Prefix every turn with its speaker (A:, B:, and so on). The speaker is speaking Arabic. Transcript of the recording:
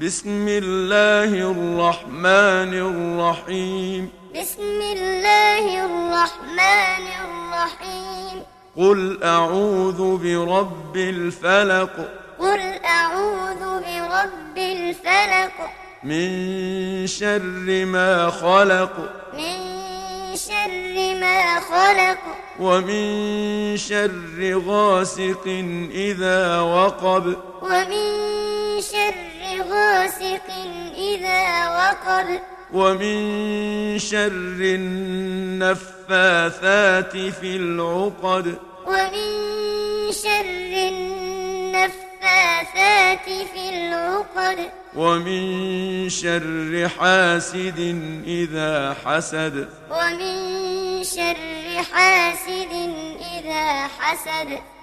A: بسم الله الرحمن الرحيم
B: بسم الله الرحمن الرحيم
A: قل أعوذ برب الفلق
B: قل أعوذ برب الفلق
A: من شر ما خلق
B: من شر ما خلق
A: ومن شر غاسق إذا وقب
B: ومن شر غاسق إذا وقب
A: ومن شر النفاثات في العقد
B: ومن شر النفاثات في العقد
A: ومن شر حاسد إذا حسد
B: ومن شر حاسد إذا حسد